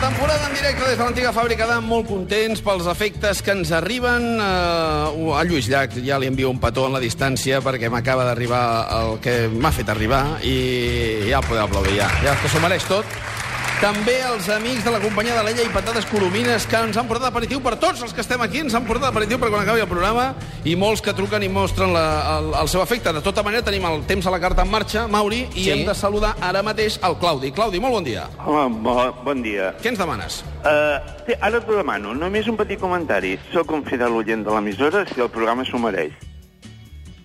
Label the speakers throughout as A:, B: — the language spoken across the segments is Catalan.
A: Temporada en directe des de l'antiga fàbrica d'Am, molt contents pels efectes que ens arriben. Eh, A Lluís Llach ja li envio un petó en la distància perquè m'acaba d'arribar el que m'ha fet arribar i ja el podeu aplaudir, ja, ja que s'ho mereix tot. També els amics de la companyia de l'Ella i Patades Colomines que ens han portat aperitiu per tots els que estem aquí, ens han portat aperitiu per quan acabi el programa i molts que truquen i mostren la, el, el seu efecte. De tota manera tenim el temps a la carta en marxa, Mauri, i
B: Sí.
A: hem de saludar ara mateix el Claudi. Claudi, molt bon dia.
C: Home, bo, bon dia.
A: Què ens demanes?
C: Uh, té, ara t'ho demano, només un petit comentari. Sóc un fidel oient de l'emissora si el programa s'ho mereix.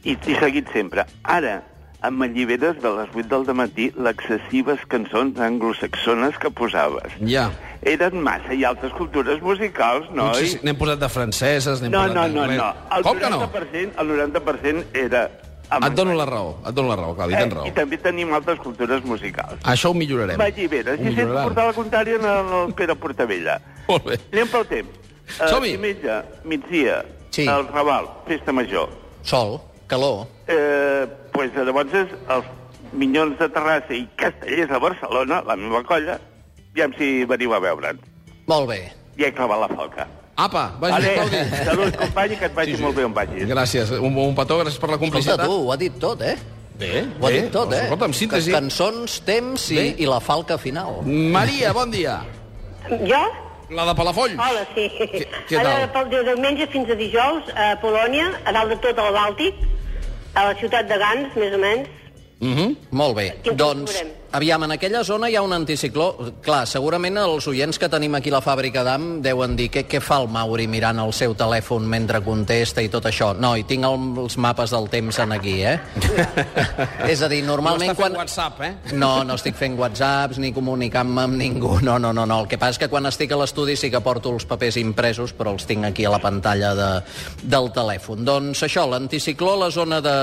C: I t'he seguit sempre. Ara, em alliberes de les 8 del matí l'excessives cançons anglosaxones que posaves.
A: Ja.
C: Eren massa i altres cultures musicals,
A: No,
C: noi.
A: sí, n'hem posat de franceses, n'hem
C: No,
A: posat
C: no,
A: de...
C: no, no. El
A: Com que no?
C: 90%, el 90% era...
A: Et dono la raó, et dono la raó, Claudi,
C: Eh,
A: tens raó.
C: I també tenim altres cultures musicals.
A: Això ho millorarem.
C: M'alliberes.
A: Ho
C: I sento
A: millorarem.
C: portar la contrària en el Pere Portavella.
A: Molt bé.
C: Anem pel temps. Eh,
A: Som-hi.
C: Diumenge, migdia,
B: Sí.
C: el Raval, festa major.
B: Sol, calor.
C: Eh, pues, llavors, és els Minyons de Terrassa i Castellers de Barcelona, la meva colla, ja si veniu a veure'n.
B: Molt bé.
C: Ja he clavat la falca.
A: Apa, vagi,
C: Vale,
A: Claudi.
C: salut, company, i que et vagi
A: Sí, sí.
C: molt bé on vagis.
A: Gràcies, un, un petó, gràcies per la
B: Escolta,
A: complicitat.
B: tu, ho ha dit tot, eh?
A: Bé,
B: Ho ha
A: bé.
B: dit tot, eh?
A: Escolta, amb síntesi.
B: Can- Cançons, temps i,
A: Bé. Mm.
B: i la falca final.
A: Maria, bon dia.
D: Jo?
A: La de Palafolls.
D: Hola, sí.
A: Què- què
D: Ara,
A: tal?
D: pel de diumenge fins a dijous, a Polònia, a dalt de tot el Bàltic, a la ciutat de Gans, més o menys.
B: Molt bé.
D: Quin temps
B: Doncs,
D: veurem?
B: aviam, en aquella zona hi ha un anticicló. Clar, segurament els oients que tenim aquí a la fàbrica d'AM deuen dir què, què fa el Mauri mirant el seu telèfon mentre contesta i tot això. No, i tinc el, els mapes del temps en aquí, eh? És a dir, normalment...
A: no està fent
B: quan...
A: WhatsApp, eh?
B: No, no estic fent whatsapps ni comunicant-me amb ningú. No, no, no, no. El que passa és que quan estic a l'estudi sí que porto els papers impresos, però els tinc aquí a la pantalla de, del telèfon. Doncs això, l'anticicló a la zona de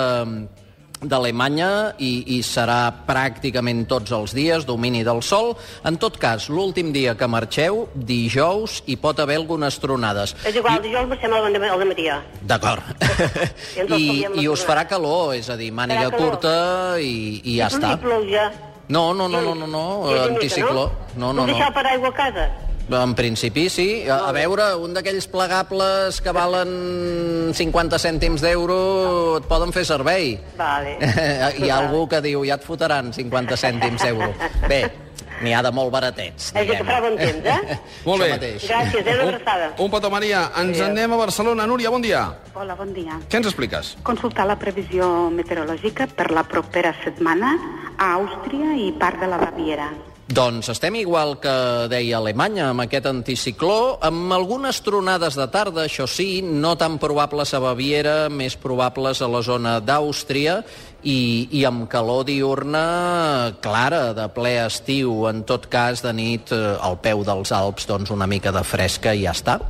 B: d'Alemanya i, i serà pràcticament tots els dies domini del sol. En tot cas, l'últim dia que marxeu, dijous, hi pot haver algunes tronades.
D: És igual, dijous marxem al al dematí. ja.
B: D'acord.
D: Ja ens
B: I,
D: el canviem la
B: I us
D: tornada.
B: farà calor, és a dir, màniga
D: calor.
B: curta i, i ja està.
D: I pluja.
B: No, no, no, no, no, no,
D: I és una mica,
B: anticicló. No, no,
D: Puc deixar
B: no.
D: el paraigua a casa?
B: En principi, sí. A, a veure, un d'aquells plegables que valen 50 cèntims d'euro et poden fer servei.
D: Vale.
B: Hi ha algú que diu, ja et fotran 50 cèntims d'euro. Bé, n'hi ha de molt baratets,
D: És que farà bon temps, eh?
A: Molt
B: Això
A: bé.
B: mateix.
D: Gràcies, eh? Una abraçada.
A: Un, un petó, Maria. Ens
D: Adéu.
A: anem a Barcelona. Núria, bon dia.
E: Hola, bon dia.
A: Què ens expliques?
E: Consultar la previsió meteorològica per la propera setmana a Àustria i part de la Baviera.
B: Doncs estem igual que deia Alemanya, amb aquest anticicló, amb algunes tronades de tarda, això sí, no tan probables a Baviera, més probables a la zona d'Àustria, i, i amb calor diurna clara, de ple estiu, en tot cas, de nit, eh, al peu dels Alps, doncs una mica de fresca i ja està.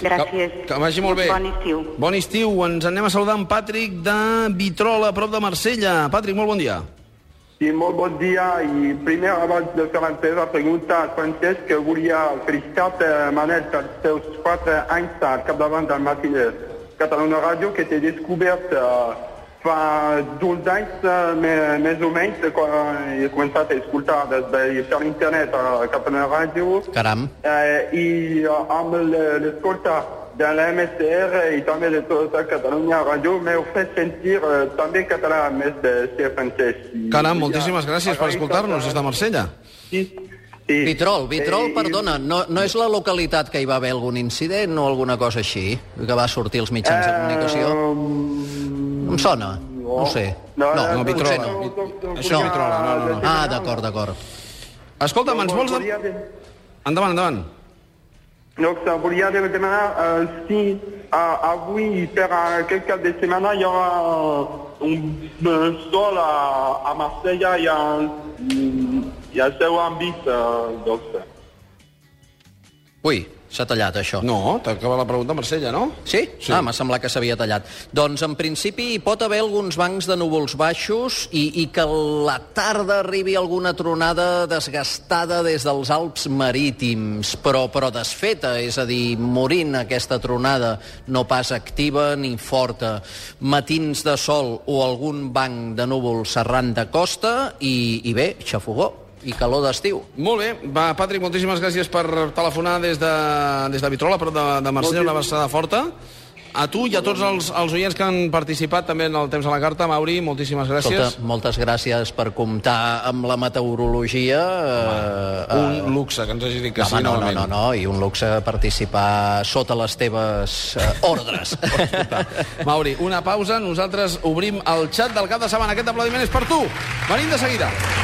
E: Gràcies.
A: Que, que vagi molt bé.
E: Bon estiu.
A: Bon estiu. Ens anem a saludar en Patrick de Vitrola, a prop de Marsella. Patrick, molt bon dia.
F: Sí, molt bon dia i primer abans de començar la pregunta al Francesc que volia felicitar eh, Manel pels seus 4 anys al capdavant del matí de Catalunya Ràdio que té descobert eh, fa 12 anys eh, me- més o menys quan he començat a escoltar des de per ben, internet euh, a Catalunya Ràdio
B: Caram.
F: eh, i eh, amb l- l'escolta de la MSR i també de tota Catalunya Ràdio m'heu fet sentir eh, també català a més de ser francès. I
A: Caram,
F: volia
A: moltíssimes gràcies per
F: agrair
A: escoltar-nos des
F: tota-
A: de Marsella.
F: Sí, sí.
B: Vitrol, Vitrol,
F: Eh,
B: perdona, no, no és la localitat que hi va haver algun incident o alguna cosa així, que va sortir als mitjans de comunicació?
F: Eh,
B: Em sona? No, ho sé.
F: No, no,
A: no,
B: potser
A: Vitrola.
B: no.
A: Això no Vitrola, no, no, no.
B: Ah, d'acord, d'acord.
A: Escolta'm, ens vols... De...
F: Volia dir-
A: Endavant, endavant.
F: Donc, ça voulait demander euh, si à, à oui, faire euh, quelques de semaines, il y aura euh, un, un sol à, à Marseille, il y a un, il y a 0 bis. Euh, donc, ça.
B: Ui, s'ha tallat, això.
A: No, t'acaba la pregunta, Marsella, no?
B: Sí?
A: Sí.
B: Ah, m'ha semblat que s'havia tallat. Doncs, en principi, hi pot haver alguns bancs de núvols baixos i, i que a la tarda arribi alguna tronada desgastada des dels Alps marítims, però, però desfeta, és a dir, morint aquesta tronada, no pas activa ni forta. Matins de sol o algun banc de núvols serran de costa i, i bé, xafogó. i calor d'estiu.
A: Molt bé, va, Patrick, moltíssimes gràcies per telefonar des de, des de Vitrola, però de, de Marsella, una abraçada forta. A tu i a tots els, els oients que han participat també en el Temps a la Carta, Mauri, moltíssimes gràcies.
B: Escolta, moltes gràcies per comptar amb la meteorologia. eh, eh,
A: Un luxe que ens hagi dit que
B: Home,
A: sí,
B: no, no,
A: novament.
B: no, no, i un luxe participar sota les teves eh, ordres.
A: Mauri, una pausa, nosaltres obrim el xat del cap de setmana. Aquest aplaudiment és per tu. Venim de seguida.